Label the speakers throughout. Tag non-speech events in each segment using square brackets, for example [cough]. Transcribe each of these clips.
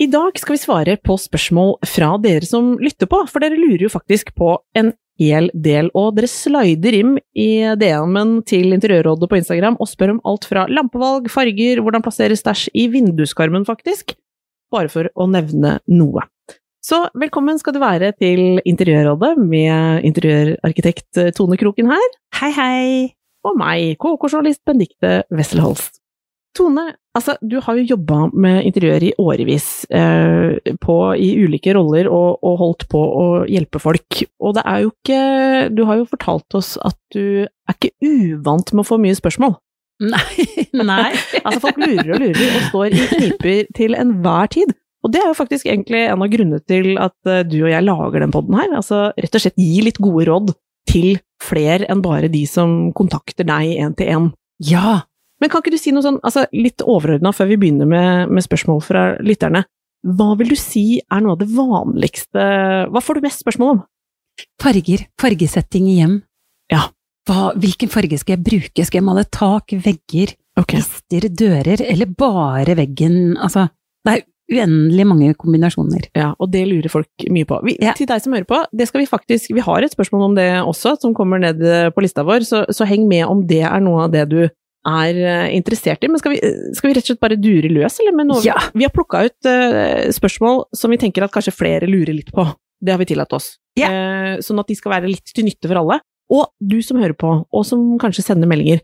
Speaker 1: I dag skal vi svare på spørsmål fra dere som lytter på, for dere lurer jo faktisk på en hel del. Og dere slider inn i DM-en til Interiørrådet på Instagram og spør om alt fra lampevalg, farger, hvordan plassere stæsj i vinduskarmen, faktisk. Bare for å nevne noe. Så velkommen skal du være til Interiørrådet med interiørarkitekt Tone Kroken her. Hei, hei! Og meg, KK-journalist Benedicte Wessel Holst. Tone, altså, du har jo jobba med interiør i årevis, eh, på, i ulike roller, og, og holdt på å hjelpe folk. Og det er jo ikke Du har jo fortalt oss at du er ikke uvant med å få mye spørsmål.
Speaker 2: Nei. [laughs]
Speaker 1: Altså, folk lurer og lurer, og står i kniper til enhver tid. Og det er jo faktisk egentlig en av grunnene til at eh, du og jeg lager den podden her. Altså, rett og slett gi litt gode råd til flere enn bare de som kontakter deg én til én.
Speaker 2: Ja.
Speaker 1: Men kan ikke du si noe sånn, altså litt overordna før vi begynner med, med spørsmål fra lytterne. Hva vil du si er noe av det vanligste Hva får du mest spørsmål om?
Speaker 2: Farger. Fargesetting i hjem.
Speaker 1: Ja.
Speaker 2: Hva, hvilken farge skal jeg bruke? Skal jeg male tak, vegger,
Speaker 1: Ok.
Speaker 2: lister, dører, eller bare veggen? Altså, det er uendelig mange kombinasjoner.
Speaker 1: Ja, og det lurer folk mye på. Vi,
Speaker 2: Ja.
Speaker 1: Til deg som hører på, det skal vi faktisk Vi har et spørsmål om det også, som kommer ned eh, på lista vår, så, så heng med om det er noe av det du er eh, interessert i. Men skal vi, eh, skal vi rett og slett bare dure løs, eller? Med noe?
Speaker 2: Ja.
Speaker 1: Vi har plukka ut eh, spørsmål som vi tenker at kanskje flere lurer litt på. Det har vi tillatt oss.
Speaker 2: Ja.
Speaker 1: Eh, sånn at de skal være litt til nytte for alle. Og du som hører på, og som kanskje sender meldinger.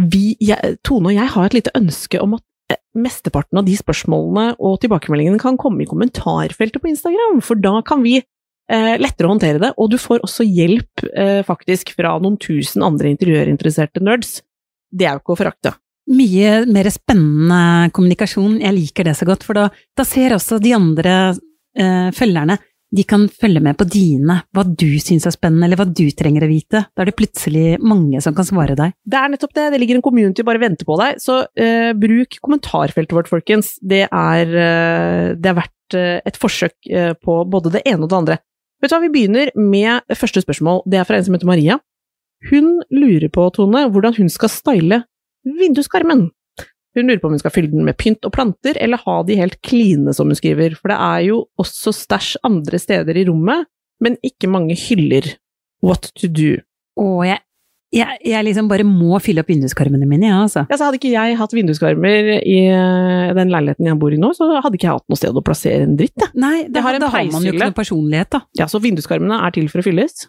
Speaker 1: Vi, jeg, Tone og jeg har et lite ønske om at eh, mesteparten av de spørsmålene og tilbakemeldingene kan komme i kommentarfeltet på Instagram, for da kan vi eh, lettere håndtere det. Og du får også hjelp eh, faktisk fra noen tusen andre interiørinteresserte nerds. Det er jo ikke å forakte.
Speaker 2: Mye mer spennende kommunikasjon. Jeg liker det så godt, for da, da ser også de andre eh, følgerne de kan følge med på dine, hva du syns er spennende, eller hva du trenger å vite. Da er det plutselig mange som kan svare deg.
Speaker 1: Det er nettopp det. Det ligger en community bare venter på deg. Så eh, bruk kommentarfeltet vårt, folkens. Det er, eh, det er verdt eh, et forsøk eh, på både det ene og det andre. Vet du hva, Vi begynner med første spørsmål. Det er fra en som heter Maria. Hun lurer på, Tone, hvordan hun skal style vinduskarmen. Hun lurer på om hun skal fylle den med pynt og planter, eller ha de helt kline, som hun skriver. For det er jo også stæsj andre steder i rommet, men ikke mange hyller. What to do?
Speaker 2: Og jeg, jeg, jeg liksom bare må fylle opp vinduskarmene mine, ja, altså.
Speaker 1: Ja, så hadde ikke jeg hatt vinduskarmer i eh, den leiligheten jeg bor i nå, så hadde ikke jeg hatt noe sted å plassere en dritt. Da,
Speaker 2: Nei, da,
Speaker 1: Jeg har en
Speaker 2: da har man jo
Speaker 1: peishylle.
Speaker 2: ikke noe personlighet, da.
Speaker 1: ja, Så vinduskarmene er til for å fylles.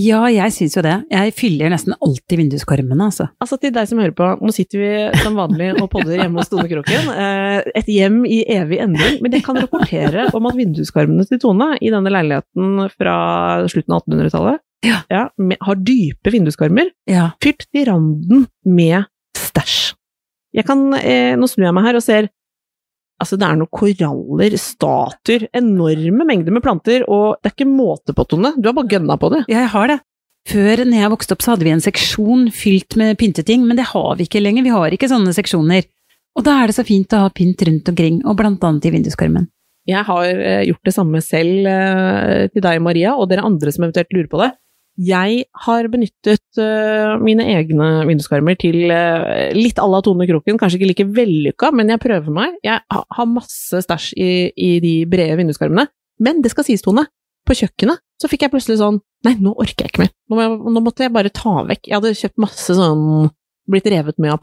Speaker 2: Ja, jeg syns jo det. Jeg fyller nesten alltid vinduskarmene, altså.
Speaker 1: Altså Til deg som hører på, nå sitter vi som vanlig og podder hjemme hos Tone Kroken. eh, Et hjem i evig endring. Men jeg kan rapportere om at vinduskarmene til Tone i denne leiligheten fra slutten av 1800-tallet
Speaker 2: Ja.
Speaker 1: med- har dype vinduskarmer
Speaker 2: Ja.
Speaker 1: fylt til randen med stæsj. Jeg kan, eh, nå snur jeg meg her og ser Altså, det er noen koraller, statuer, enorme mengder med planter, og det er ikke måte på, Tone. Du har bare gønna på det.
Speaker 2: Jeg har det. Før, når jeg vokste opp, så hadde vi en seksjon fylt med pynteting, men det har vi ikke lenger. Vi har ikke sånne seksjoner. Og da er det så fint å ha pynt rundt omkring, og blant annet i vinduskarmen.
Speaker 1: Jeg har eh, gjort det samme selv eh, til deg, Maria, og dere andre som eventuelt lurer på det. Jeg har benyttet eh, mine egne vinduskarmer til eh, litt à la Tone Kroken, kanskje ikke like vellykka, men jeg prøver meg. Jeg ha, har masse stæsj i, i de brede vinduskarmene. Men det skal sies, Tone, på kjøkkenet så fikk jeg plutselig sånn Nei, nå orker jeg ikke mer. Nå, må jeg, nå måtte jeg bare ta vekk. Jeg hadde kjøpt masse sånn Blitt revet med av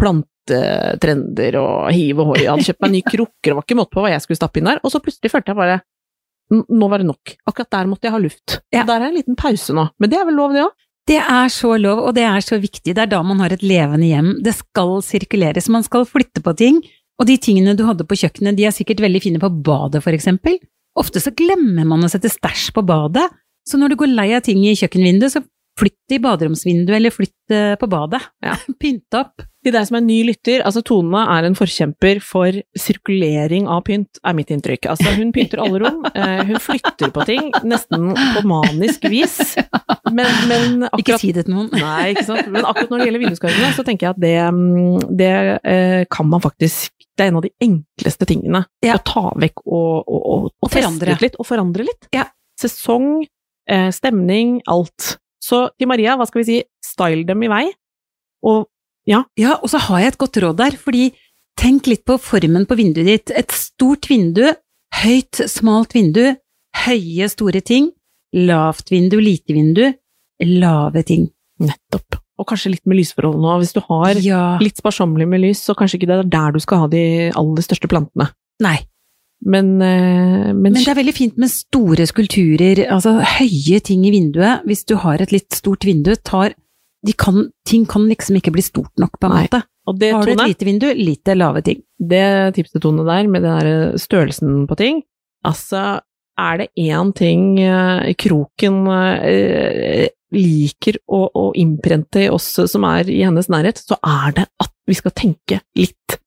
Speaker 1: plantetrender eh, og hiv og hoi. Jeg hadde kjøpt meg nye krukker og var ikke måte på hva jeg skulle stappe inn der. Og så plutselig følte jeg bare "N- Nå var det nok. Akkurat der måtte jeg ha luft.
Speaker 2: Ja.
Speaker 1: Der er en liten pause nå. Men det er vel lov, det òg?
Speaker 2: Det er så lov, og det er så viktig. Det er da man har et levende hjem. Det skal sirkuleres, man skal flytte på ting. Og de tingene du hadde på kjøkkenet, de er sikkert veldig fine på badet, for eksempel. Ofte så glemmer man å sette stæsj på badet, Så når du går lei av ting i kjøkkenvinduet, så flytt det i baderomsvinduet, eller flytt det på badet.
Speaker 1: Ja.
Speaker 2: [laughs] Pynt opp.
Speaker 1: Til deg som er ny lytter, altså Tone er en forkjemper for sirkulering av pynt, er mitt inntrykk. Altså hun pynter alle rom, eh, hun flytter på ting, nesten på manisk vis. Men, men
Speaker 2: Ikke
Speaker 1: akkurat
Speaker 2: si det til noen.
Speaker 1: Nei, ikke sant. Men akkurat når det gjelder vinduskarmene, så tenker jeg at det, mm, det eh, kan man faktisk Det er en av de enkleste tingene
Speaker 2: Ja.
Speaker 1: å ta vekk og, og, og, og
Speaker 2: forandre.
Speaker 1: teste ut litt. Og forandre litt.
Speaker 2: Ja.
Speaker 1: Sesong, eh, stemning, alt. Så til Maria, hva skal vi si, style dem i vei. Og
Speaker 2: Ja, og så har jeg et godt råd der, fordi tenk litt på formen på vinduet ditt. Et stort vindu, høyt, smalt vindu, høye, store ting, lavt vindu, lite vindu, lave ting.
Speaker 1: nettopp. Og kanskje litt med lysforholdene òg. Hvis du har
Speaker 2: Ja,
Speaker 1: litt sparsommelig med lys, så kanskje ikke det er der du skal ha de aller største plantene.
Speaker 2: nei.
Speaker 1: Men, eh, men,
Speaker 2: Men det er veldig fint med store skulpturer, altså høye ting i vinduet. Hvis du har et litt stort vindu, tar de kan, Ting kan liksom ikke bli stort nok, på en
Speaker 1: Nei.
Speaker 2: måte.
Speaker 1: og det,
Speaker 2: Har du et
Speaker 1: Tone,
Speaker 2: lite vindu, lite lave
Speaker 1: [laughs]
Speaker 2: ting.
Speaker 1: det tipset Tone der, med den der størrelsen på ting Altså, er det én ting eh, kroken eh, liker å, å innprente i oss som er i hennes nærhet, så er det at vi skal tenke litt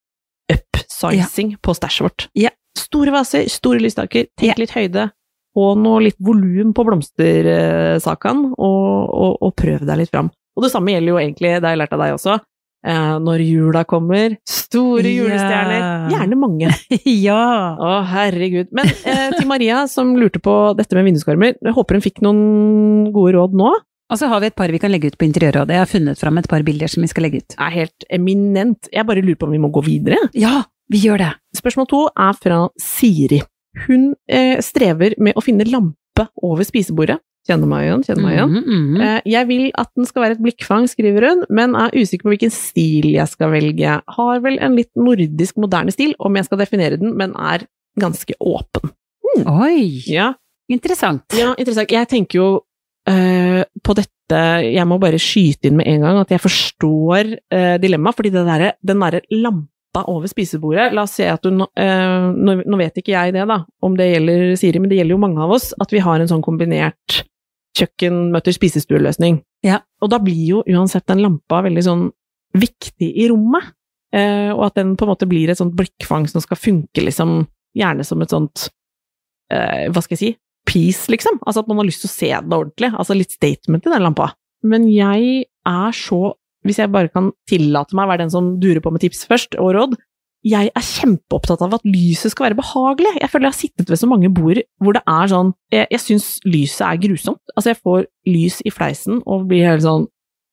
Speaker 1: upsizing på stæsjet vårt.
Speaker 2: Ja.
Speaker 1: Store vaser, store lysstaker, tenk
Speaker 2: Ja.
Speaker 1: litt høyde. Og noe litt volum på blomstersakene, og, og, og prøv deg litt fram. Og det samme gjelder jo egentlig, det har jeg lært av deg også, eh, når jula kommer. Store
Speaker 2: Ja.
Speaker 1: julestjerner. Gjerne mange.
Speaker 2: ja!
Speaker 1: Å, herregud. Men eh, til Maria, som lurte på dette med vinduskarmer, jeg håper hun fikk noen gode råd nå.
Speaker 2: Og så har vi et par vi kan legge ut på Interiørrådet. Jeg har funnet fram et par bilder som vi skal legge ut.
Speaker 1: Er helt eminent. Jeg bare lurer på om vi må gå videre.
Speaker 2: Ja, vi gjør det!
Speaker 1: Spørsmål to er fra Siri. Hun eh, strever med å finne lampe over spisebordet. Kjenner meg igjen, kjenner meg igjen.
Speaker 2: Mhm, mhm.
Speaker 1: Eh, Jeg vil at den skal være et blikkfang, skriver hun, men er usikker på hvilken stil jeg skal velge. Har vel en litt nordisk, moderne stil, om jeg skal definere den, men er ganske åpen.
Speaker 2: Oi,
Speaker 1: Ja,
Speaker 2: interessant.
Speaker 1: ja Eh, interessant. Jeg tenker jo eh, på dette Jeg må bare skyte inn med en gang at jeg forstår uh, dilemmaet, fordi det derre- den derre lampa over spisebordet La oss si at du nå- eh, nå, nå vet ikke jeg det, da, om det gjelder Siri, men det gjelder jo mange av oss, at vi har en sånn kombinert kjøkken møter spisestueløsning.
Speaker 2: Ja.
Speaker 1: Og da blir jo uansett den lampa veldig sånn viktig i rommet, eh, og at den på en måte blir et sånt blikkfang som skal funke liksom, gjerne som et sånt eh, Hva skal jeg si? Piece, liksom. Altså at man har lyst til å se den ordentlig. Altså litt statement i den lampa. Men jeg er så Hvis jeg bare kan tillate meg å være den som durer på med tips først, og råd Jeg er kjempeopptatt av at lyset skal være behagelig. Jeg føler jeg har sittet ved så mange bord hvor det er sånn Jeg, jeg syns lyset er grusomt. Altså, jeg får lys i fleisen og blir helt sånn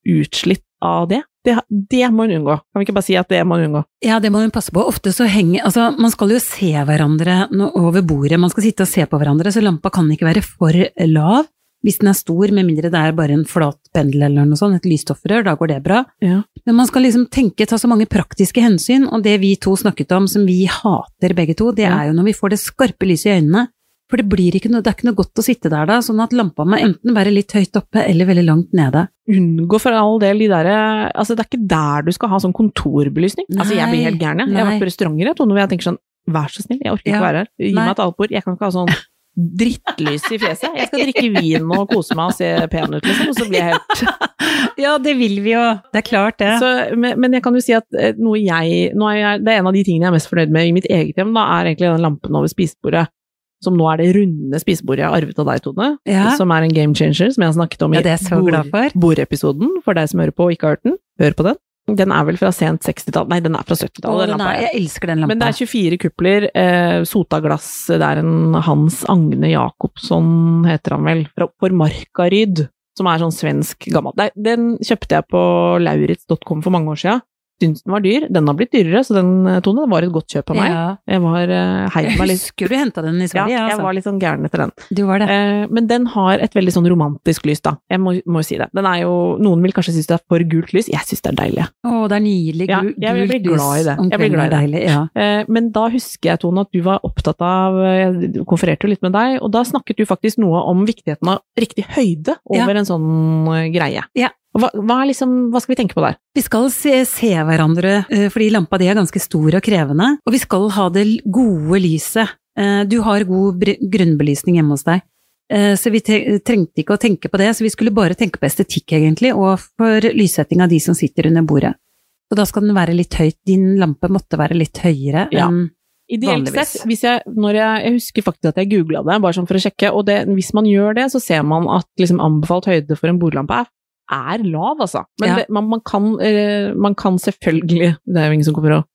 Speaker 1: utslitt av det. Det, det må hun unngå. Kan vi ikke bare si at det må hun unngå?
Speaker 2: Ja, det må hun passe på. Ofte så henger Altså, man skal jo se hverandre nå over bordet, man skal sitte og se på hverandre, så lampa kan ikke være for lav. Hvis den er stor, med mindre det er bare en flat pendel eller noe sånt, et lysstoffrør, da går det bra.
Speaker 1: Ja.
Speaker 2: Men man skal liksom tenke, ta så mange praktiske hensyn, og det vi to snakket om som vi hater begge to, det
Speaker 1: Ja.
Speaker 2: er jo når vi får det skarpe lyset i øynene. For det blir ikke noe, det er ikke noe godt å sitte der da, sånn at lampa må enten være litt høyt oppe eller veldig langt nede.
Speaker 1: unngå for all del de derre Altså, det er ikke der du skal ha sånn kontorbelysning. altså, jeg blir
Speaker 2: Nei,
Speaker 1: helt gæren, jeg. Jeg har vært på restauranter, jeg, Tone, hvor jeg tenker sånn Vær så snill, jeg orker ikke
Speaker 2: Ja,
Speaker 1: være her. Gi
Speaker 2: nei.
Speaker 1: meg et annet bord. Jeg kan ikke ha sånn drittlys i fjeset. Jeg skal drikke vin og kose meg og se pen ut, liksom. Og så blir jeg helt
Speaker 2: [laughs] Ja, det vil vi jo. Det er klart det.
Speaker 1: så, men, men jeg kan jo si at eh, noe jeg, nå er jeg Det er en av de tingene jeg er mest fornøyd med i mitt eget hjem, da, er egentlig den lampen over spisebordet. Som nå er det runde spisebordet jeg har arvet av deg, Tone.
Speaker 2: Ja.
Speaker 1: Som er en game changer, som jeg har snakket om
Speaker 2: Ja,
Speaker 1: i
Speaker 2: det er jeg så
Speaker 1: bord-
Speaker 2: glad for.
Speaker 1: bordepisoden, for deg som hører på og ikke har hørt den. Hør på den. Den er vel fra sent 60-tall, nei, den er fra
Speaker 2: Å,
Speaker 1: 70-tallet. den
Speaker 2: den
Speaker 1: lampa
Speaker 2: er,
Speaker 1: her.
Speaker 2: jeg elsker den lampa.
Speaker 1: Men det er 24 kupler, eh, sota glass, det er en Hans Agne Jacobsson, heter han vel, fra, for Markaryd, som er sånn svensk gammel. Nei, den kjøpte jeg på lauritz.com for mange år siden. Syns den var dyr. Den har blitt dyrere, så den, eh, Tone, det var et godt kjøp av meg.
Speaker 2: Ja.
Speaker 1: Jeg var eh, heid
Speaker 2: Jeg
Speaker 1: meg litt.
Speaker 2: [laughs] husker du henta den i
Speaker 1: Ja,
Speaker 2: Sverige,
Speaker 1: jeg
Speaker 2: altså.
Speaker 1: var litt sånn gæren etter den.
Speaker 2: Du var det.
Speaker 1: Eh, men den har et veldig sånn romantisk lys, da. Jeg må, må jo si det. Den er jo, noen vil kanskje synes det er for gult lys. Jeg synes det er deilig.
Speaker 2: Å, det er nydelig
Speaker 1: Ja,
Speaker 2: gul,
Speaker 1: jeg blir
Speaker 2: gult lys
Speaker 1: glad i det.
Speaker 2: om
Speaker 1: Jeg blir
Speaker 2: kvelden,
Speaker 1: glad i
Speaker 2: deilig. Ja.
Speaker 1: Eh, Men da husker jeg, Tone, at du var opptatt av Jeg konfererte jo litt med deg, og da snakket du faktisk noe om viktigheten av riktig høyde over en sånn eh, greie.
Speaker 2: Ja.
Speaker 1: Og Hva, hva, er liksom, hva skal vi tenke på der?
Speaker 2: Vi skal se, se hverandre, eh, fordi lampa di er ganske stor og krevende, og vi skal ha det l- gode lyset. Eh, Du har god br- grunnbelysning hjemme hos deg. Eh, Så vi te- trengte ikke å tenke på det, så vi skulle bare tenke på estetikk, egentlig, og for lyssetting av de som sitter under bordet. Og da skal den være litt høyt. Din lampe måtte være litt høyere
Speaker 1: Ja.
Speaker 2: enn
Speaker 1: Ideelt
Speaker 2: Vanligvis.
Speaker 1: sett, hvis jeg, når jeg, jeg husker faktisk at jeg googla det, bare sånn for å sjekke, og det, hvis man gjør det, så ser man at liksom, anbefalt høyde for en bordlampe er, er lav, altså. Men
Speaker 2: Ja.
Speaker 1: det, man, man, kan, eh, man kan selvfølgelig Det er jo ingen som kommer og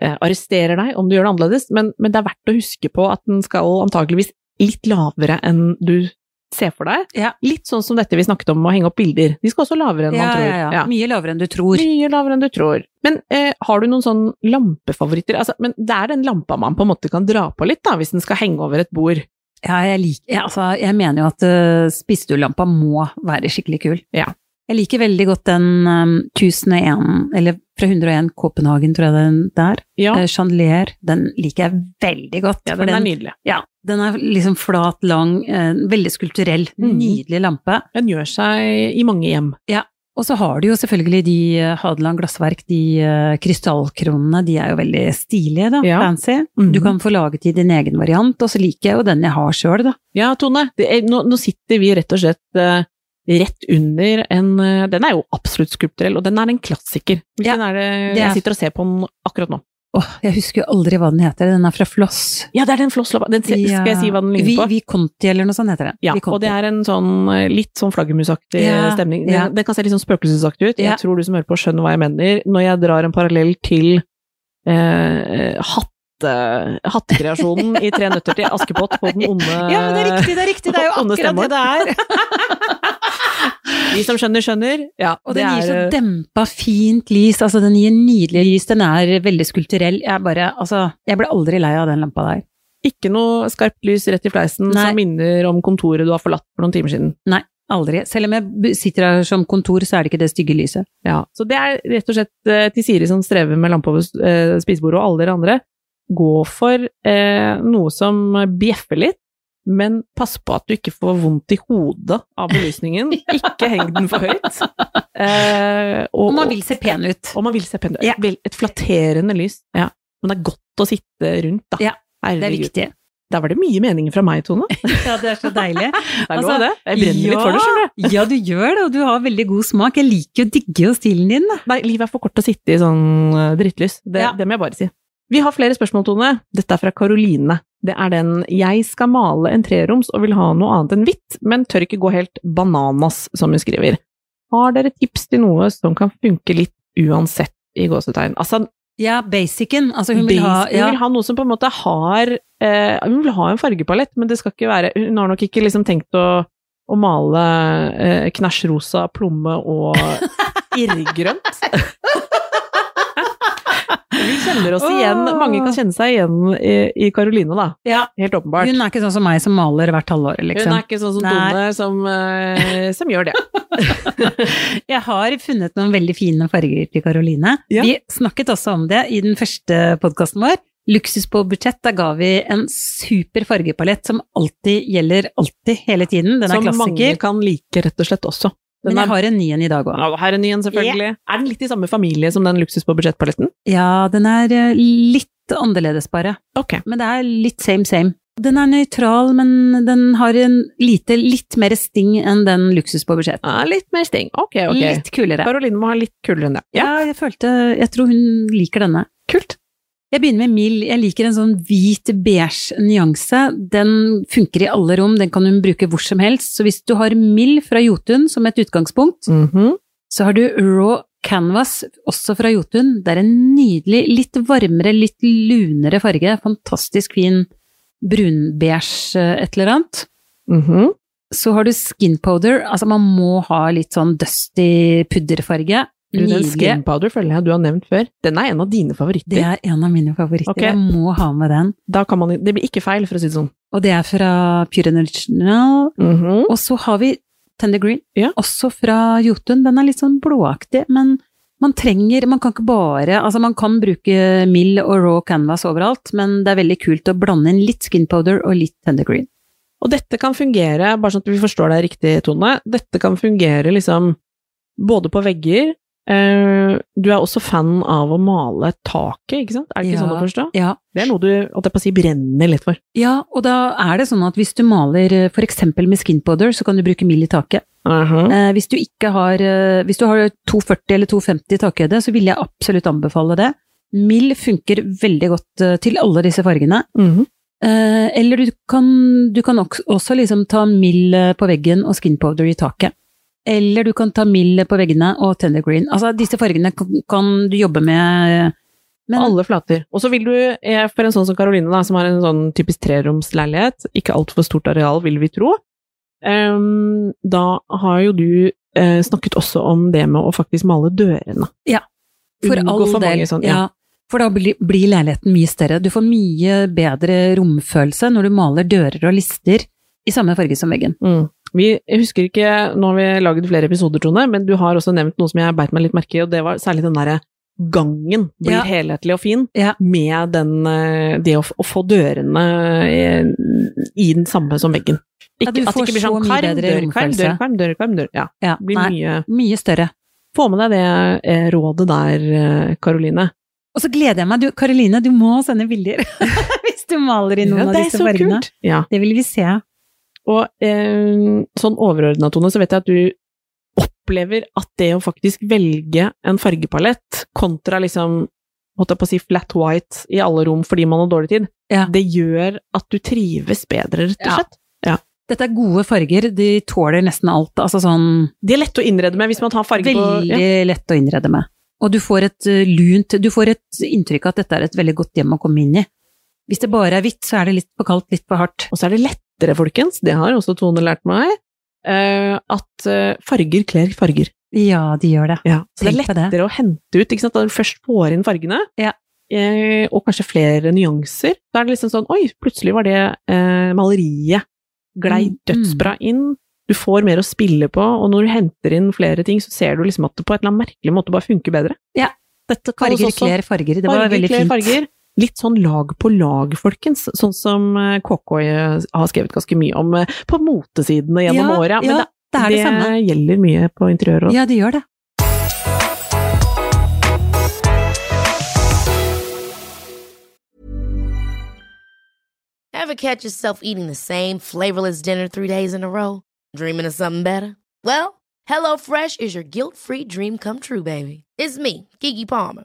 Speaker 1: eh, arresterer deg om du gjør det annerledes, men, men det er verdt å huske på at den skal antageligvis litt lavere enn du ser for deg.
Speaker 2: Ja.
Speaker 1: Litt sånn som dette vi snakket om å henge opp bilder. De skal også lavere enn man tror. Ja.
Speaker 2: Mye lavere enn du tror.
Speaker 1: Mye lavere enn du tror. Men eh, har du noen sånn lampefavoritter? Altså, men det er den lampa man på en måte kan dra på litt, da, hvis den skal henge over et bord.
Speaker 2: Ja, jeg, lik, ja, altså, jeg mener jo at uh, spisstuelampa må være skikkelig kul.
Speaker 1: Ja.
Speaker 2: Jeg liker veldig godt den um, 1001, eller fra 101 Copenhagen, tror jeg den der.
Speaker 1: Ja,
Speaker 2: Eh, Chandelier, den liker jeg veldig godt.
Speaker 1: ja
Speaker 2: for
Speaker 1: den er nydelig.
Speaker 2: Ja, den er liksom flat, lang, eh, veldig skulpturell.
Speaker 1: Mm.
Speaker 2: Nydelig lampe.
Speaker 1: Den gjør seg i mange hjem.
Speaker 2: Og så har du jo selvfølgelig de eh, Hadeland glassverk, de eh, krystallkronene, de er jo veldig stilige, da.
Speaker 1: Ja.
Speaker 2: Fancy.
Speaker 1: Mhm.
Speaker 2: Du kan få laget i din egen variant, og så liker jeg jo den jeg har sjøl, da.
Speaker 1: Ja, Tone, det er, nå, nå sitter vi rett og slett eh, rett under en eh, Den er jo absolutt skulpturell, og den er en klassiker.
Speaker 2: Ja,
Speaker 1: Hvilken er det
Speaker 2: det er-
Speaker 1: jeg sitter og ser på den akkurat nå?
Speaker 2: Åh, jeg husker jo aldri hva den heter, den er fra Floss.
Speaker 1: Ja, det er den flosslappa. Den se-
Speaker 2: Ja.
Speaker 1: skal jeg si hva den ligner på?
Speaker 2: Vi, Viconti eller noe sånt heter den.
Speaker 1: Ja, og det er en sånn eh, litt sånn flaggermusaktig
Speaker 2: Ja,
Speaker 1: eh, stemning.
Speaker 2: ja.
Speaker 1: Det, det kan se litt sånn spøkelsesaktig ut.
Speaker 2: Ja.
Speaker 1: Jeg tror du som hører på skjønner hva jeg mener. Når jeg drar en parallell til eh, hatte, hattekreasjonen i Tre nøtter til Askepott på den onde
Speaker 2: [laughs] Ja, men det er riktig, det er riktig, det er jo
Speaker 1: [laughs] Onde
Speaker 2: akkurat det det er.
Speaker 1: [laughs] De som skjønner, skjønner. Ja,
Speaker 2: Og den gir
Speaker 1: det
Speaker 2: så
Speaker 1: er, eh,
Speaker 2: dempa, fint lys, altså den gir nydelig lys, den er veldig skulpturell. Jeg bare, altså, jeg ble aldri lei av den lampa der.
Speaker 1: eh, ikke noe skarpt lys rett i fleisen
Speaker 2: Nei.
Speaker 1: som minner om kontoret du har forlatt for noen timer siden.
Speaker 2: Aldri. Selv om jeg b- sitter her som kontor, så er det ikke det stygge lyset.
Speaker 1: Ja, så det er rett og slett eh, til Siri som strever med lampe over eh, spisebordet og alle dere andre. Gå for eh, noe som bjeffer litt, men pass på at du ikke får vondt i hodet av
Speaker 2: [laughs]
Speaker 1: belysningen. Ikke heng den for høyt. Eh,
Speaker 2: Og man vil se pen ut.
Speaker 1: og man vil se pen ut.
Speaker 2: Ja.
Speaker 1: Vel, Et flatterende lys. Ja. Men det er godt å sitte rundt, da.
Speaker 2: Ja, Det er
Speaker 1: Herregud.
Speaker 2: viktig.
Speaker 1: Der var det mye meninger fra meg,
Speaker 2: [laughs]
Speaker 1: Tone.
Speaker 2: Ja, det er så deilig.
Speaker 1: Det er
Speaker 2: Altså,
Speaker 1: lov, det. Jeg brenner litt for det, skjønner du.
Speaker 2: [laughs] Ja, du gjør det, og du har veldig god smak. Jeg liker jo, digger jo stilen din. da.
Speaker 1: Nei, livet er for kort til å sitte i sånn eh, drittlys. Det,
Speaker 2: Ja.
Speaker 1: det må jeg bare si. Vi har flere spørsmål, Tone. Dette er fra Karoline. Det er den 'Jeg skal male en treroms og vil ha noe annet enn hvitt, men tør ikke gå helt bananas', som hun skriver. Har dere tips til noe som kan funke litt uansett, i gåsetegn? Altså,
Speaker 2: Ja, basicen. Altså, hun
Speaker 1: base-
Speaker 2: vil ha ja.
Speaker 1: hun vil ha noe som på en måte har eh, Hun vil ha en fargepalett, men det skal ikke være Hun har nok ikke liksom tenkt å, å male eh, knæsjrosa, plomme [laughs] og irrgrønt. Vi kjenner oss igjen.
Speaker 2: Åh.
Speaker 1: Mange kan kjenne seg igjen i- i Karoline, da.
Speaker 2: Ja.
Speaker 1: Helt åpenbart.
Speaker 2: Hun er ikke sånn som meg som maler hvert halvår, liksom.
Speaker 1: Hun er ikke sånn som
Speaker 2: Nei.
Speaker 1: Tone, som, eh, som gjør det.
Speaker 2: Jeg har funnet noen veldig fine farger til Karoline.
Speaker 1: Ja.
Speaker 2: Vi snakket også om det i den første podkasten vår. Luksus på budsjett, da ga vi en super fargepalett som alltid gjelder alltid, hele tiden. Den er
Speaker 1: som mange
Speaker 2: klassiker.
Speaker 1: kan like, rett og slett, også. Den
Speaker 2: Men jeg
Speaker 1: er,
Speaker 2: har en ny en i dag òg.
Speaker 1: ja, her er ny en, selvfølgelig. Er den litt i samme familie som den luksus på budsjettpaletten?
Speaker 2: Ja, den er eh, litt annerledes bare.
Speaker 1: Ok.
Speaker 2: Men det er litt same same. Den er nøytral, men den har en lite, litt mer sting enn den luksus på budsjett.
Speaker 1: Ja, Ah, litt mer sting. Ok, ok.
Speaker 2: Litt kulere.
Speaker 1: Karoline må ha litt kulere enn det.
Speaker 2: Ja, jeg følte Jeg tror hun liker denne. Kult. Jeg begynner med mild. Jeg liker en sånn hvit beige nyanse. Den funker i alle rom, den kan hun bruke hvor som helst. Så hvis du har mild fra Jotun som et utgangspunkt,
Speaker 1: Mhm.
Speaker 2: så har du raw canvas også fra Jotun. Det er en nydelig, litt varmere, litt lunere farge. Fantastisk fin brunbeige eh, et eller annet.
Speaker 1: Mhm.
Speaker 2: Så har du skin powder. Altså, man må ha litt sånn dusty pudderfarge.
Speaker 1: Du, den
Speaker 2: Nydelig.
Speaker 1: skin powder føler jeg du har nevnt før. Den er en av dine favoritter.
Speaker 2: Det er en av mine favoritter.
Speaker 1: Ok.
Speaker 2: Jeg må ha med den.
Speaker 1: Da kan man, det blir ikke feil, for å si det sånn.
Speaker 2: Og det er fra Pure Original.
Speaker 1: Mhm.
Speaker 2: Og så har vi Tender Green,
Speaker 1: Ja.
Speaker 2: også fra Jotun. Den er litt sånn blåaktig, men man trenger Man kan ikke bare Altså, man kan bruke mild og raw canvas overalt, men det er veldig kult å blande inn litt skin powder og litt Tender Green.
Speaker 1: Og dette kan fungere, bare sånn at vi forstår deg riktig, Tone, dette kan fungere liksom både på vegger, Eh, du er også fan av å male taket, ikke sant? Er det ikke
Speaker 2: Ja.
Speaker 1: sånn å forstå?
Speaker 2: Ja,
Speaker 1: Det er noe du holdt jeg på å si, brenner litt for.
Speaker 2: ja, og da er det sånn at hvis du maler f.eks. med skin powder, så kan du bruke mild i taket.
Speaker 1: Mhm.
Speaker 2: Eh, hvis du ikke har eh, Hvis du har 240 eller 250 i takhøyde, så vil jeg absolutt anbefale det. Mild funker veldig godt eh, til alle disse fargene.
Speaker 1: Mhm.
Speaker 2: Eh, eller du kan, du kan oks- også liksom ta mild eh, på veggen og skin powder i taket. Eller du kan ta mild på veggene og tender green. Altså, disse fargene kan, kan du jobbe med eh, men,
Speaker 1: Alle flater. Og så vil du, eh, for en sånn som Karoline, da, som har en sånn typisk treromsleilighet, ikke altfor stort areal, vil vi tro, ehm, da har jo du eh, snakket også om det med å faktisk male dørene.
Speaker 2: Ja. For
Speaker 1: Unngå
Speaker 2: all
Speaker 1: for mange
Speaker 2: del.
Speaker 1: sånn,
Speaker 2: ja.
Speaker 1: ja.
Speaker 2: For da blir, blir leiligheten mye større. Du får mye bedre romfølelse når du maler dører og lister i samme farge som veggen.
Speaker 1: Mm. Vi, jeg husker ikke, nå har vi laget flere episoder, Trone, men du har også nevnt noe som jeg beit meg litt merke i, og det var særlig den derre gangen blir
Speaker 2: Ja.
Speaker 1: helhetlig og fin
Speaker 2: Ja.
Speaker 1: med den, eh, det å, f- å få dørene eh, i den samme som veggen. Ikke,
Speaker 2: Ja, du
Speaker 1: at
Speaker 2: får
Speaker 1: det ikke blir
Speaker 2: så
Speaker 1: sånn
Speaker 2: mye
Speaker 1: karm,
Speaker 2: bedre
Speaker 1: dørkarm,
Speaker 2: romfølelse.
Speaker 1: dørkarm, dørkarm, dør. Ja,
Speaker 2: Ja,
Speaker 1: det blir
Speaker 2: nei,
Speaker 1: mye.
Speaker 2: mye større.
Speaker 1: Få med deg det eh, rådet der, eh, Karoline.
Speaker 2: Og så gleder jeg meg. Du, Karoline, du må sende bilder [laughs] hvis du maler i noen
Speaker 1: Ja,
Speaker 2: av
Speaker 1: det er
Speaker 2: disse
Speaker 1: så
Speaker 2: fargene.
Speaker 1: kult. Ja.
Speaker 2: Det vil vi se.
Speaker 1: Og eh, sånn overordna, Tone, så vet jeg at du opplever at det å faktisk velge en fargepalett kontra liksom holdt jeg på å si flat white i alle rom fordi man har dårlig tid,
Speaker 2: Ja.
Speaker 1: det gjør at du trives bedre, rett og
Speaker 2: Ja.
Speaker 1: slett.
Speaker 2: Dette er gode farger. De tåler nesten alt. Altså sånn
Speaker 1: De er lette å innrede med hvis man tar farge på
Speaker 2: veldig
Speaker 1: ja.
Speaker 2: lett å innrede med. Og du får et eh, lunt Du får et inntrykk av at dette er et veldig godt hjem å komme inn i. Hvis det bare er hvitt, så er det litt for kaldt, litt for hardt.
Speaker 1: Og så er det lettere, folkens, det har også Tone lært meg, eh, at eh, farger kler farger.
Speaker 2: Ja, de gjør det.
Speaker 1: Ja, så det er
Speaker 2: Tenk på det.
Speaker 1: lettere å hente ut, ikke sant, da du først får inn fargene,
Speaker 2: Ja.
Speaker 1: eh, og kanskje flere nyanser. Da er det liksom sånn, oi, plutselig var det eh, maleriet glei
Speaker 2: Mm,
Speaker 1: dødsbra inn, du får mer å spille på, og når du henter inn flere ting, så ser du liksom at det på et eller annet merkelig måte bare funker bedre.
Speaker 2: Ja.
Speaker 1: Dette kalles
Speaker 2: Farger
Speaker 1: også
Speaker 2: kler farger. Det var
Speaker 1: farger
Speaker 2: veldig
Speaker 1: kler
Speaker 2: fint.
Speaker 1: farger. Litt sånn lag på lag, folkens, sånn som eh, KK har skrevet ganske mye om eh, på motesidene gjennom
Speaker 2: Ja,
Speaker 1: året. Men
Speaker 2: ja,
Speaker 1: det
Speaker 2: det er det, samme.
Speaker 1: gjelder mye på interiør også.
Speaker 2: Ja, det gjør det.
Speaker 3: Ever catch yourself eating the same flavorless dinner three days in a row? Dreaming of something better? Well, HelloFresh is your guilt free dream come true, baby. It's me, Gigi Palmer.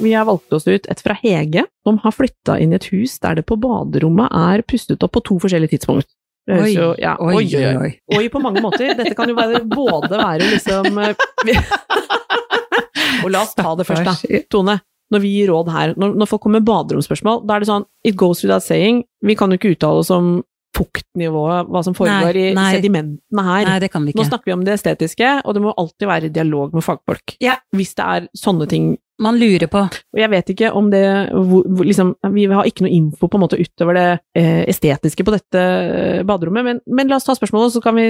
Speaker 1: Vi har valgt oss ut et fra Hege, som har flytta inn i et hus der det på baderommet er pustet opp på to forskjellige tidspunkt. Det høres jo- ja, oi, oi, oi. Oi, på mange måter. Dette kan jo være, både være liksom eh,
Speaker 2: [laughs]
Speaker 1: vi- Og la oss ta det først, da. Tone, når vi gir råd her, når, når folk kommer med baderomsspørsmål, da er det sånn It goes without saying. Vi kan jo ikke uttale oss om fuktnivået, hva som foregår
Speaker 2: Nei,
Speaker 1: i
Speaker 2: nei.
Speaker 1: sedimentene her.
Speaker 2: Nei, det kan vi
Speaker 1: Nå
Speaker 2: ikke.
Speaker 1: snakker vi om det estetiske, og det må alltid være i dialog med fagfolk.
Speaker 2: Ja.
Speaker 1: Hvis det er sånne ting
Speaker 2: Man lurer på.
Speaker 1: og jeg vet ikke om det hvor, hvor, liksom, Vi har ikke noe info på en måte utover det eh, estetiske på dette eh, baderommet, men, men la oss ta spørsmålet, så kan vi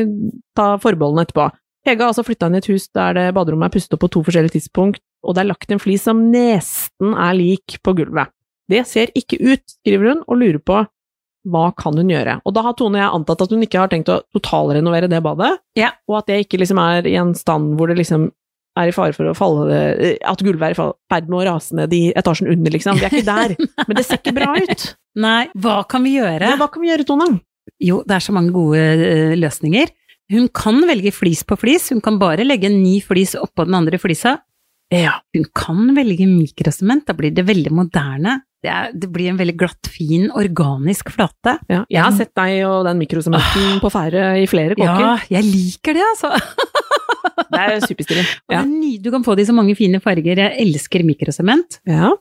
Speaker 1: ta forbeholdene etterpå. Hege har altså flytta inn i et hus der det baderommet er pustet opp på to forskjellige tidspunkt, og det er lagt en flis som nesten er lik på gulvet. Det ser ikke ut, skriver hun, og lurer på hva kan hun gjøre. Og da har Tone og jeg antatt at hun ikke har tenkt å totalrenovere det badet,
Speaker 2: Ja.
Speaker 1: og at det ikke liksom er i en stand hvor det liksom er i fare for å falle eh, At gulvet er i fa- ferd med å rase ned i etasjen under, liksom. Vi er ikke der. Men det ser ikke bra ut.
Speaker 2: Nei, hva kan vi gjøre?
Speaker 1: Men hva kan vi gjøre, Tone?
Speaker 2: Jo, det er så mange gode eh, løsninger. Hun kan velge flis på flis, hun kan bare legge en ny flis oppå den andre flisa.
Speaker 1: Ja.
Speaker 2: Hun kan velge mikrosement, da blir det veldig moderne. Det, er, det blir en veldig glatt, fin, organisk flate.
Speaker 1: Jeg har sett deg og den mikrosementen på ferde i flere kåker.
Speaker 2: Ja, jeg liker det, altså.
Speaker 1: Det er superstilig.
Speaker 2: Og det
Speaker 1: Ja.
Speaker 2: er ny- Du kan få det i så mange fine farger, jeg elsker mikrosement.
Speaker 1: Ja.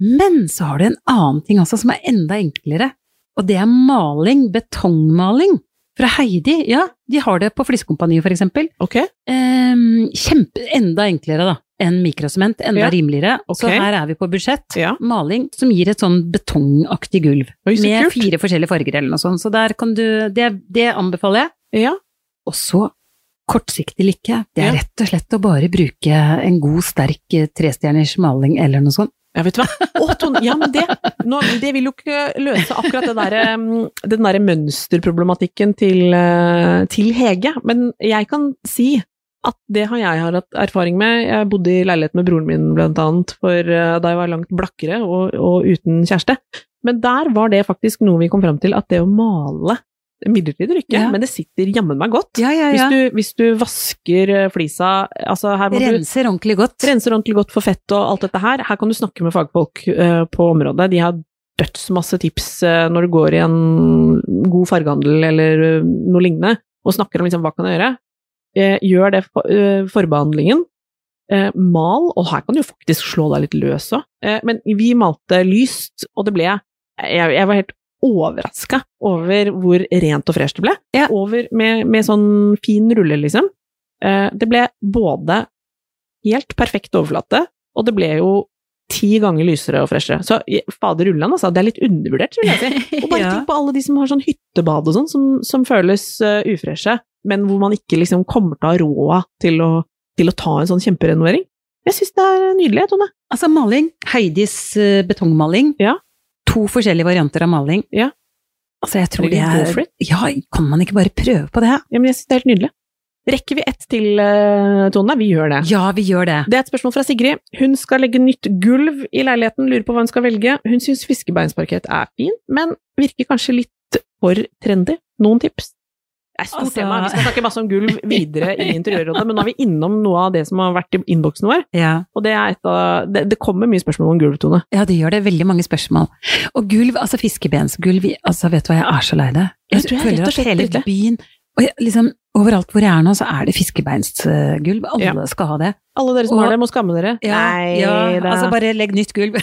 Speaker 2: Men så har du en annen ting også som er enda enklere, og det er maling, betongmaling. Fra Heidi, ja, de har det på Flissekompaniet for eksempel.
Speaker 1: Ok.
Speaker 2: Ehm, kjempe, enda enklere da, enn mikrosement, enda
Speaker 1: Ja.
Speaker 2: rimeligere. Så
Speaker 1: Ok.
Speaker 2: her er vi på budsjett.
Speaker 1: Ja.
Speaker 2: Maling som gir et sånn betongaktig gulv.
Speaker 1: Oi, så
Speaker 2: med
Speaker 1: kult.
Speaker 2: fire forskjellige farger eller noe sånt. Så der kan du Det, det anbefaler jeg.
Speaker 1: Ja.
Speaker 2: Og så kortsiktig lykke. Det er
Speaker 1: Ja.
Speaker 2: rett og slett å bare bruke en god, sterk eh, trestjerners maling eller noe sånt.
Speaker 1: Ja, vet du hva? Å, Tone, ja, men det, nå, det vil jo ikke løse akkurat det der, um, den derre mønsterproblematikken til, eh, til Hege, men jeg kan si at det har jeg har hatt erfaring med. Jeg bodde i leilighet med broren min blant annet for, eh, da jeg var langt blakkere og, og uten kjæreste. Men der var det faktisk noe vi kom fram til, at det å male midlertidig rykke,
Speaker 2: Ja.
Speaker 1: men det sitter jammen meg godt.
Speaker 2: Ja, ja,
Speaker 1: Hvis, du, hvis du vasker eh, flisa altså her må du,
Speaker 2: Renser ordentlig godt.
Speaker 1: Renser ordentlig godt for fett og alt dette her. Her kan du snakke med fagfolk eh, på området. De har dødsmasse tips eh, når du går i en god fargehandel eller eh, noe lignende, og snakker om liksom, hva kan jeg gjøre. Eh, gjør det for, eh, forbehandlingen. Eh, mal, og her kan du jo faktisk slå deg litt løs òg. Eh, men vi malte lyst, og det ble jeg, jeg var helt overraska over hvor rent og fresh det ble.
Speaker 2: Ja.
Speaker 1: Over med, med sånn fin rulle, liksom. Eh, det ble både helt perfekt overflate, og det ble jo ti ganger lysere og freshere. Så je- fader ulland, altså. Det er litt undervurdert, vil jeg
Speaker 2: [laughs]
Speaker 1: si. Og bare
Speaker 2: Ja.
Speaker 1: tenk på alle de som har sånn hyttebad og sånn, som, som føles eh, ufreshe, men hvor man ikke liksom kommer til å ha råd til å, til å ta en sånn kjemperenovering. Jeg syns det er nydelig, Tone.
Speaker 2: Altså maling. Heidis eh, betongmaling.
Speaker 1: Ja.
Speaker 2: To forskjellige varianter av maling.
Speaker 1: Ja.
Speaker 2: Altså, jeg tror det
Speaker 1: Herregud, go for
Speaker 2: er Ja, kan man ikke bare prøve på det?
Speaker 1: Ja, men jeg synes det er helt nydelig. Rekker vi ett til, eh, Tone? Vi gjør det.
Speaker 2: Ja, vi gjør det.
Speaker 1: Det er et spørsmål fra Sigrid. Hun skal legge nytt gulv i leiligheten, lurer på hva hun skal velge. Hun syns fiskebeinsparkett er fin, men virker kanskje litt for trendy. Noen tips? Det er et stort
Speaker 2: Altså-
Speaker 1: tema. Vi skal snakke masse om gulv videre i Interiørrådet, men nå er vi innom noe av det som har vært i innboksen vår,
Speaker 2: Ja.
Speaker 1: og det er et av Det, det kommer mye spørsmål om gulv, Tone.
Speaker 2: Ja, det gjør det. Veldig mange spørsmål. Og gulv, altså fiskebensgulv, i- altså vet du hva, jeg er så lei det.
Speaker 1: Jeg tror jeg er
Speaker 2: føler
Speaker 1: rett og
Speaker 2: at
Speaker 1: slett
Speaker 2: hele
Speaker 1: ute.
Speaker 2: byen, og jeg, liksom overalt hvor jeg er nå, så er det fiskebeinsgulv. Alle
Speaker 1: Ja.
Speaker 2: skal ha det.
Speaker 1: Alle dere som
Speaker 2: Og-
Speaker 1: har det, må skamme dere. Nei
Speaker 2: ja,
Speaker 1: da.
Speaker 2: altså bare legg nytt [laughs] gulv.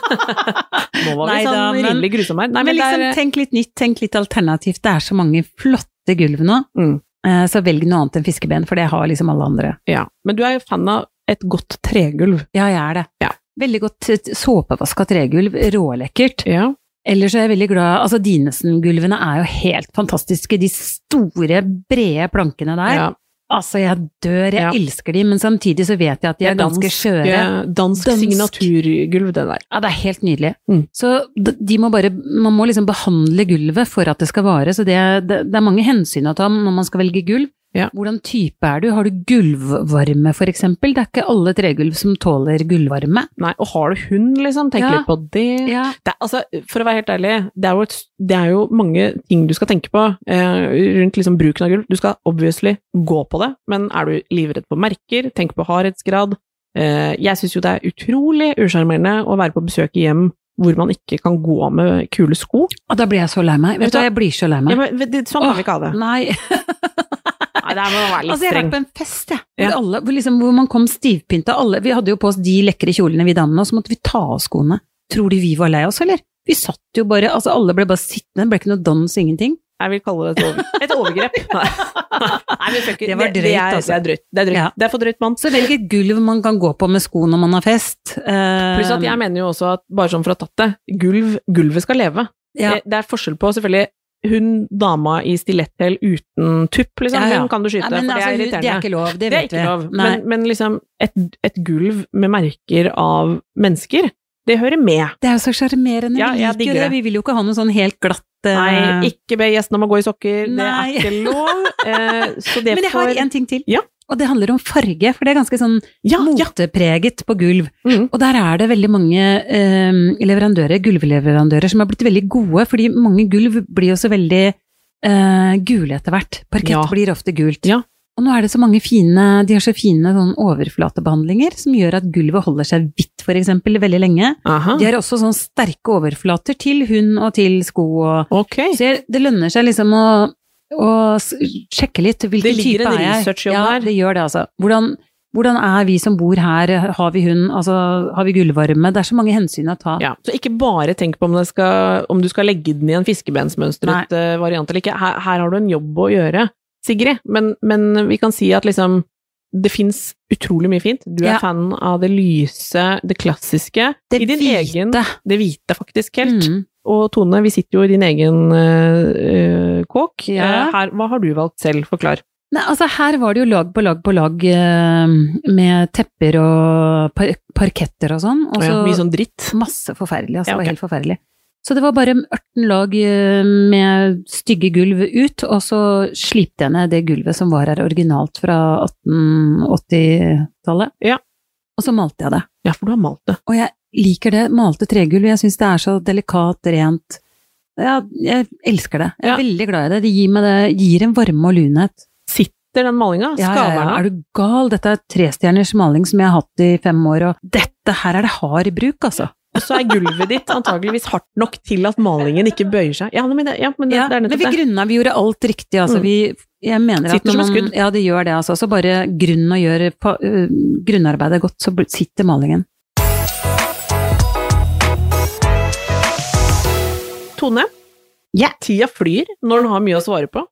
Speaker 1: nå var vi
Speaker 2: nei
Speaker 1: sånn
Speaker 2: da, men-
Speaker 1: rimelig grusomme her. Nei,
Speaker 2: men
Speaker 1: men,
Speaker 2: liksom,
Speaker 1: det er
Speaker 2: tenk litt nytt, tenk litt alternativt. Det er så mange flotte gulv nå.
Speaker 1: Mm.
Speaker 2: Eh, Så velg noe annet enn fiskeben, for det har liksom alle andre.
Speaker 1: ja. Men du er jo fan av et godt tregulv.
Speaker 2: Ja, jeg er det.
Speaker 1: Ja.
Speaker 2: Veldig godt eh, såpevaska tregulv, rålekkert.
Speaker 1: Ja.
Speaker 2: Ellers er jeg veldig glad Altså, Dinesen-gulvene er jo helt fantastiske. De store, brede plankene der.
Speaker 1: ja.
Speaker 2: Altså, jeg dør, jeg
Speaker 1: Ja.
Speaker 2: elsker de, men samtidig så vet jeg at de
Speaker 1: Det
Speaker 2: er,
Speaker 1: er dansk,
Speaker 2: ganske skjøre. Ja.
Speaker 1: dansk
Speaker 2: Dansk.
Speaker 1: signaturgulv, det der.
Speaker 2: det er helt nydelig.
Speaker 1: Mm.
Speaker 2: Så d- de må bare Man må liksom behandle gulvet for at det skal vare, så det, er- det, det er mange hensyn å ta når man skal velge gulv.
Speaker 1: Ja.
Speaker 2: Hvordan type er du? Har du gulvvarme, for eksempel? Det er ikke alle tregulv som tåler gulvvarme.
Speaker 1: Nei, og har du hund, liksom? Tenk
Speaker 2: Ja.
Speaker 1: litt på det.
Speaker 2: Ja.
Speaker 1: det er- altså, for å være helt ærlig, det er jo, et, det er jo mange ting du skal tenke på eh, rundt liksom bruken av gulv. Du skal obviously gå på det, men er du livredd på merker, tenk på hardhetsgrad. Eh, jeg syns jo det er utrolig usjarmerende å være på besøk i hjem hvor man ikke kan gå med kule sko.
Speaker 2: Og da blir jeg så lei meg. Vet du hva, jeg blir så lei
Speaker 1: Ja,
Speaker 2: meg.
Speaker 1: men, det, sånn kan vi ikke ha det.
Speaker 2: Nei.
Speaker 1: Nei, det må være litt
Speaker 2: Altså, jeg har vært
Speaker 1: streng.
Speaker 2: på en fest, jeg. Hvor,
Speaker 1: Ja.
Speaker 2: alle, hvor, liksom, hvor man kom stivpynta. Alle, vi hadde jo på oss de lekre kjolene vi damene, og så måtte vi ta av skoene. Tror de vi var lei oss, eller? Vi satt jo bare, altså alle ble bare sittende, det ble ikke noe dans, ingenting.
Speaker 1: Jeg vil kalle det et, over, et
Speaker 2: [laughs]
Speaker 1: overgrep. Nei, Nei, men fuck it.
Speaker 2: Det var
Speaker 1: det,
Speaker 2: drøyt,
Speaker 1: er,
Speaker 2: altså.
Speaker 1: det er drøyt. Det er, drøyt.
Speaker 2: Ja.
Speaker 1: Det er for drøyt, mann.
Speaker 2: Så velg et gulv man kan gå på med sko når man har fest. Eh,
Speaker 1: Pluss at jeg mener jo også at, bare sånn for å ha tatt det, gulv, gulvet skal leve.
Speaker 2: ja,
Speaker 1: Eh, Det er forskjell på selvfølgelig hun dama i stiletthæl uten tupp, liksom.
Speaker 2: Ja, ja.
Speaker 1: Hun kan du
Speaker 2: Nei,
Speaker 1: skyte,
Speaker 2: men
Speaker 1: for det
Speaker 2: altså,
Speaker 1: er
Speaker 2: hun- det er
Speaker 1: irriterende.
Speaker 2: ikke lov, det
Speaker 1: Det er
Speaker 2: vet vi.
Speaker 1: ikke lov.
Speaker 2: Nei.
Speaker 1: Men, men liksom, et, et gulv med merker av mennesker, det hører med.
Speaker 2: det er jo så sjarmerende,
Speaker 1: Ja,
Speaker 2: vi
Speaker 1: jeg
Speaker 2: liker jo
Speaker 1: digger
Speaker 2: det.
Speaker 1: det.
Speaker 2: Vi vil jo ikke ha noe sånn helt glatt eh,
Speaker 1: Nei, ikke be gjestene om å gå i sokker,
Speaker 2: Nei.
Speaker 1: det er ikke
Speaker 2: [laughs]
Speaker 1: lov. Eh, Så det
Speaker 2: Men jeg har
Speaker 1: får
Speaker 2: en ting til.
Speaker 1: Ja.
Speaker 2: Og det handler om farge, for det er ganske sånn
Speaker 1: Ja, Ah, ja.
Speaker 2: motepreget på gulv.
Speaker 1: Mhm.
Speaker 2: Og der er det veldig mange eh, leverandører, gulvleverandører, som har blitt veldig gode, fordi mange gulv blir jo så veldig eh, gule etter hvert. Parkett
Speaker 1: Ja.
Speaker 2: blir ofte gult.
Speaker 1: Ja.
Speaker 2: Og nå er det så mange fine, de har så fine sånn overflatebehandlinger som gjør at gulvet holder seg hvitt for eksempel veldig lenge.
Speaker 1: Aha.
Speaker 2: De har også sånn sterke overflater til hund og til sko og
Speaker 1: Ok.
Speaker 2: Så jeg, det lønner seg liksom å, å s- sjekke litt hvilken
Speaker 1: Det ligger
Speaker 2: type er jeg.
Speaker 1: en researchjobb
Speaker 2: ja,
Speaker 1: her.
Speaker 2: det gjør det altså. Hvordan, hvordan er vi som bor her, har vi hund, altså har vi gullvarme? Det er så mange hensyn å ta.
Speaker 1: Ja, så ikke bare tenk på om, det skal, om du skal legge den i en fiskebensmønstret eh, variant eller ikke. Her, her har du en jobb å gjøre, Sigrid. Men, men vi kan si at liksom det fins utrolig mye fint. Du er
Speaker 2: Ja.
Speaker 1: fan av det lyse, det klassiske.
Speaker 2: Det
Speaker 1: i din egen
Speaker 2: hvite.
Speaker 1: Det hvite, faktisk, helt.
Speaker 2: Mm.
Speaker 1: Og Tone, vi sitter jo i din egen eh, eh, kåk.
Speaker 2: Ja.
Speaker 1: Eh, her, hva har du valgt selv? Forklar.
Speaker 2: Nei, altså her var det jo lag på lag på lag eh, med tepper og par parketter og sånn. Og
Speaker 1: ja,
Speaker 2: så
Speaker 1: mye sånn dritt.
Speaker 2: masse forferdelig, altså.
Speaker 1: Ja,
Speaker 2: det var
Speaker 1: ok.
Speaker 2: Helt forferdelig. Så det var bare 18 lag eh, med stygge gulv ut, og så slipte jeg ned det gulvet som var her originalt fra 1880-tallet.
Speaker 1: Ja.
Speaker 2: Og så malte jeg det.
Speaker 1: Ja, for du har malt det.
Speaker 2: Og jeg liker det malte tregulv. Jeg syns det er så delikat, rent. Ja, jeg elsker det. Jeg er
Speaker 1: Ja.
Speaker 2: veldig glad i det. Det gir, meg det gir en varme og lunhet.
Speaker 1: Sitter den malinga?
Speaker 2: Ja, ja,
Speaker 1: Skaver den
Speaker 2: ja.
Speaker 1: av?
Speaker 2: Er du gal? Dette er trestjerners maling som jeg har hatt i fem år, og dette her er det hard bruk, altså.
Speaker 1: Og så er gulvet ditt antageligvis hardt nok til at malingen ikke bøyer seg. Ja, men det, ja, men det,
Speaker 2: Ja,
Speaker 1: det er
Speaker 2: men vi
Speaker 1: nettopp det.
Speaker 2: grunna, vi gjorde alt riktig, altså.
Speaker 1: Mm.
Speaker 2: Vi, jeg mener at
Speaker 1: Sitter
Speaker 2: når
Speaker 1: som et
Speaker 2: man,
Speaker 1: skudd.
Speaker 2: ja, det gjør det, altså. Så bare grunn og gjør pa- øh, grunnarbeidet godt, så bl- sitter malingen.
Speaker 1: Tone,
Speaker 2: Ja.
Speaker 1: tida flyr når den har mye å svare
Speaker 2: [laughs]
Speaker 1: på.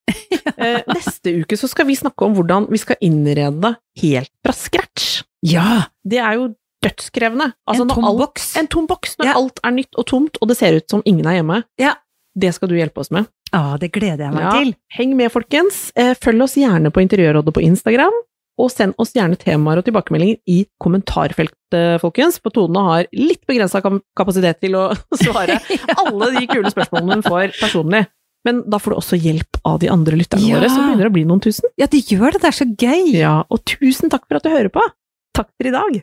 Speaker 1: Eh, neste uke så skal vi snakke om hvordan vi skal innrede helt fra scratch.
Speaker 2: Ja!
Speaker 1: Det er jo dødskrevende. Altså,
Speaker 2: en
Speaker 1: når
Speaker 2: tom
Speaker 1: alt-
Speaker 2: boks.
Speaker 1: En tom boks når
Speaker 2: Ja.
Speaker 1: alt er nytt og tomt, og det ser ut som ingen er hjemme.
Speaker 2: Ja.
Speaker 1: Det skal du hjelpe oss med.
Speaker 2: Ja, det gleder jeg meg
Speaker 1: Ja.
Speaker 2: til.
Speaker 1: Heng med, folkens. Eh, Følg oss gjerne på Interiørrådet på Instagram. Og send oss gjerne temaer og tilbakemeldinger i kommentarfeltet, folkens. For Tone har litt begrensa kam- kapasitet til å [laughs]
Speaker 2: [laughs]
Speaker 1: svare alle de kule spørsmålene hun får personlig. Men da får du også hjelp av de andre lytterne
Speaker 2: Ja.
Speaker 1: våre, som begynner å bli noen tusen.
Speaker 2: Ja, de gjør det, det er så gøy!
Speaker 1: Ja, Og tusen takk for at du hører på! Takk for i dag!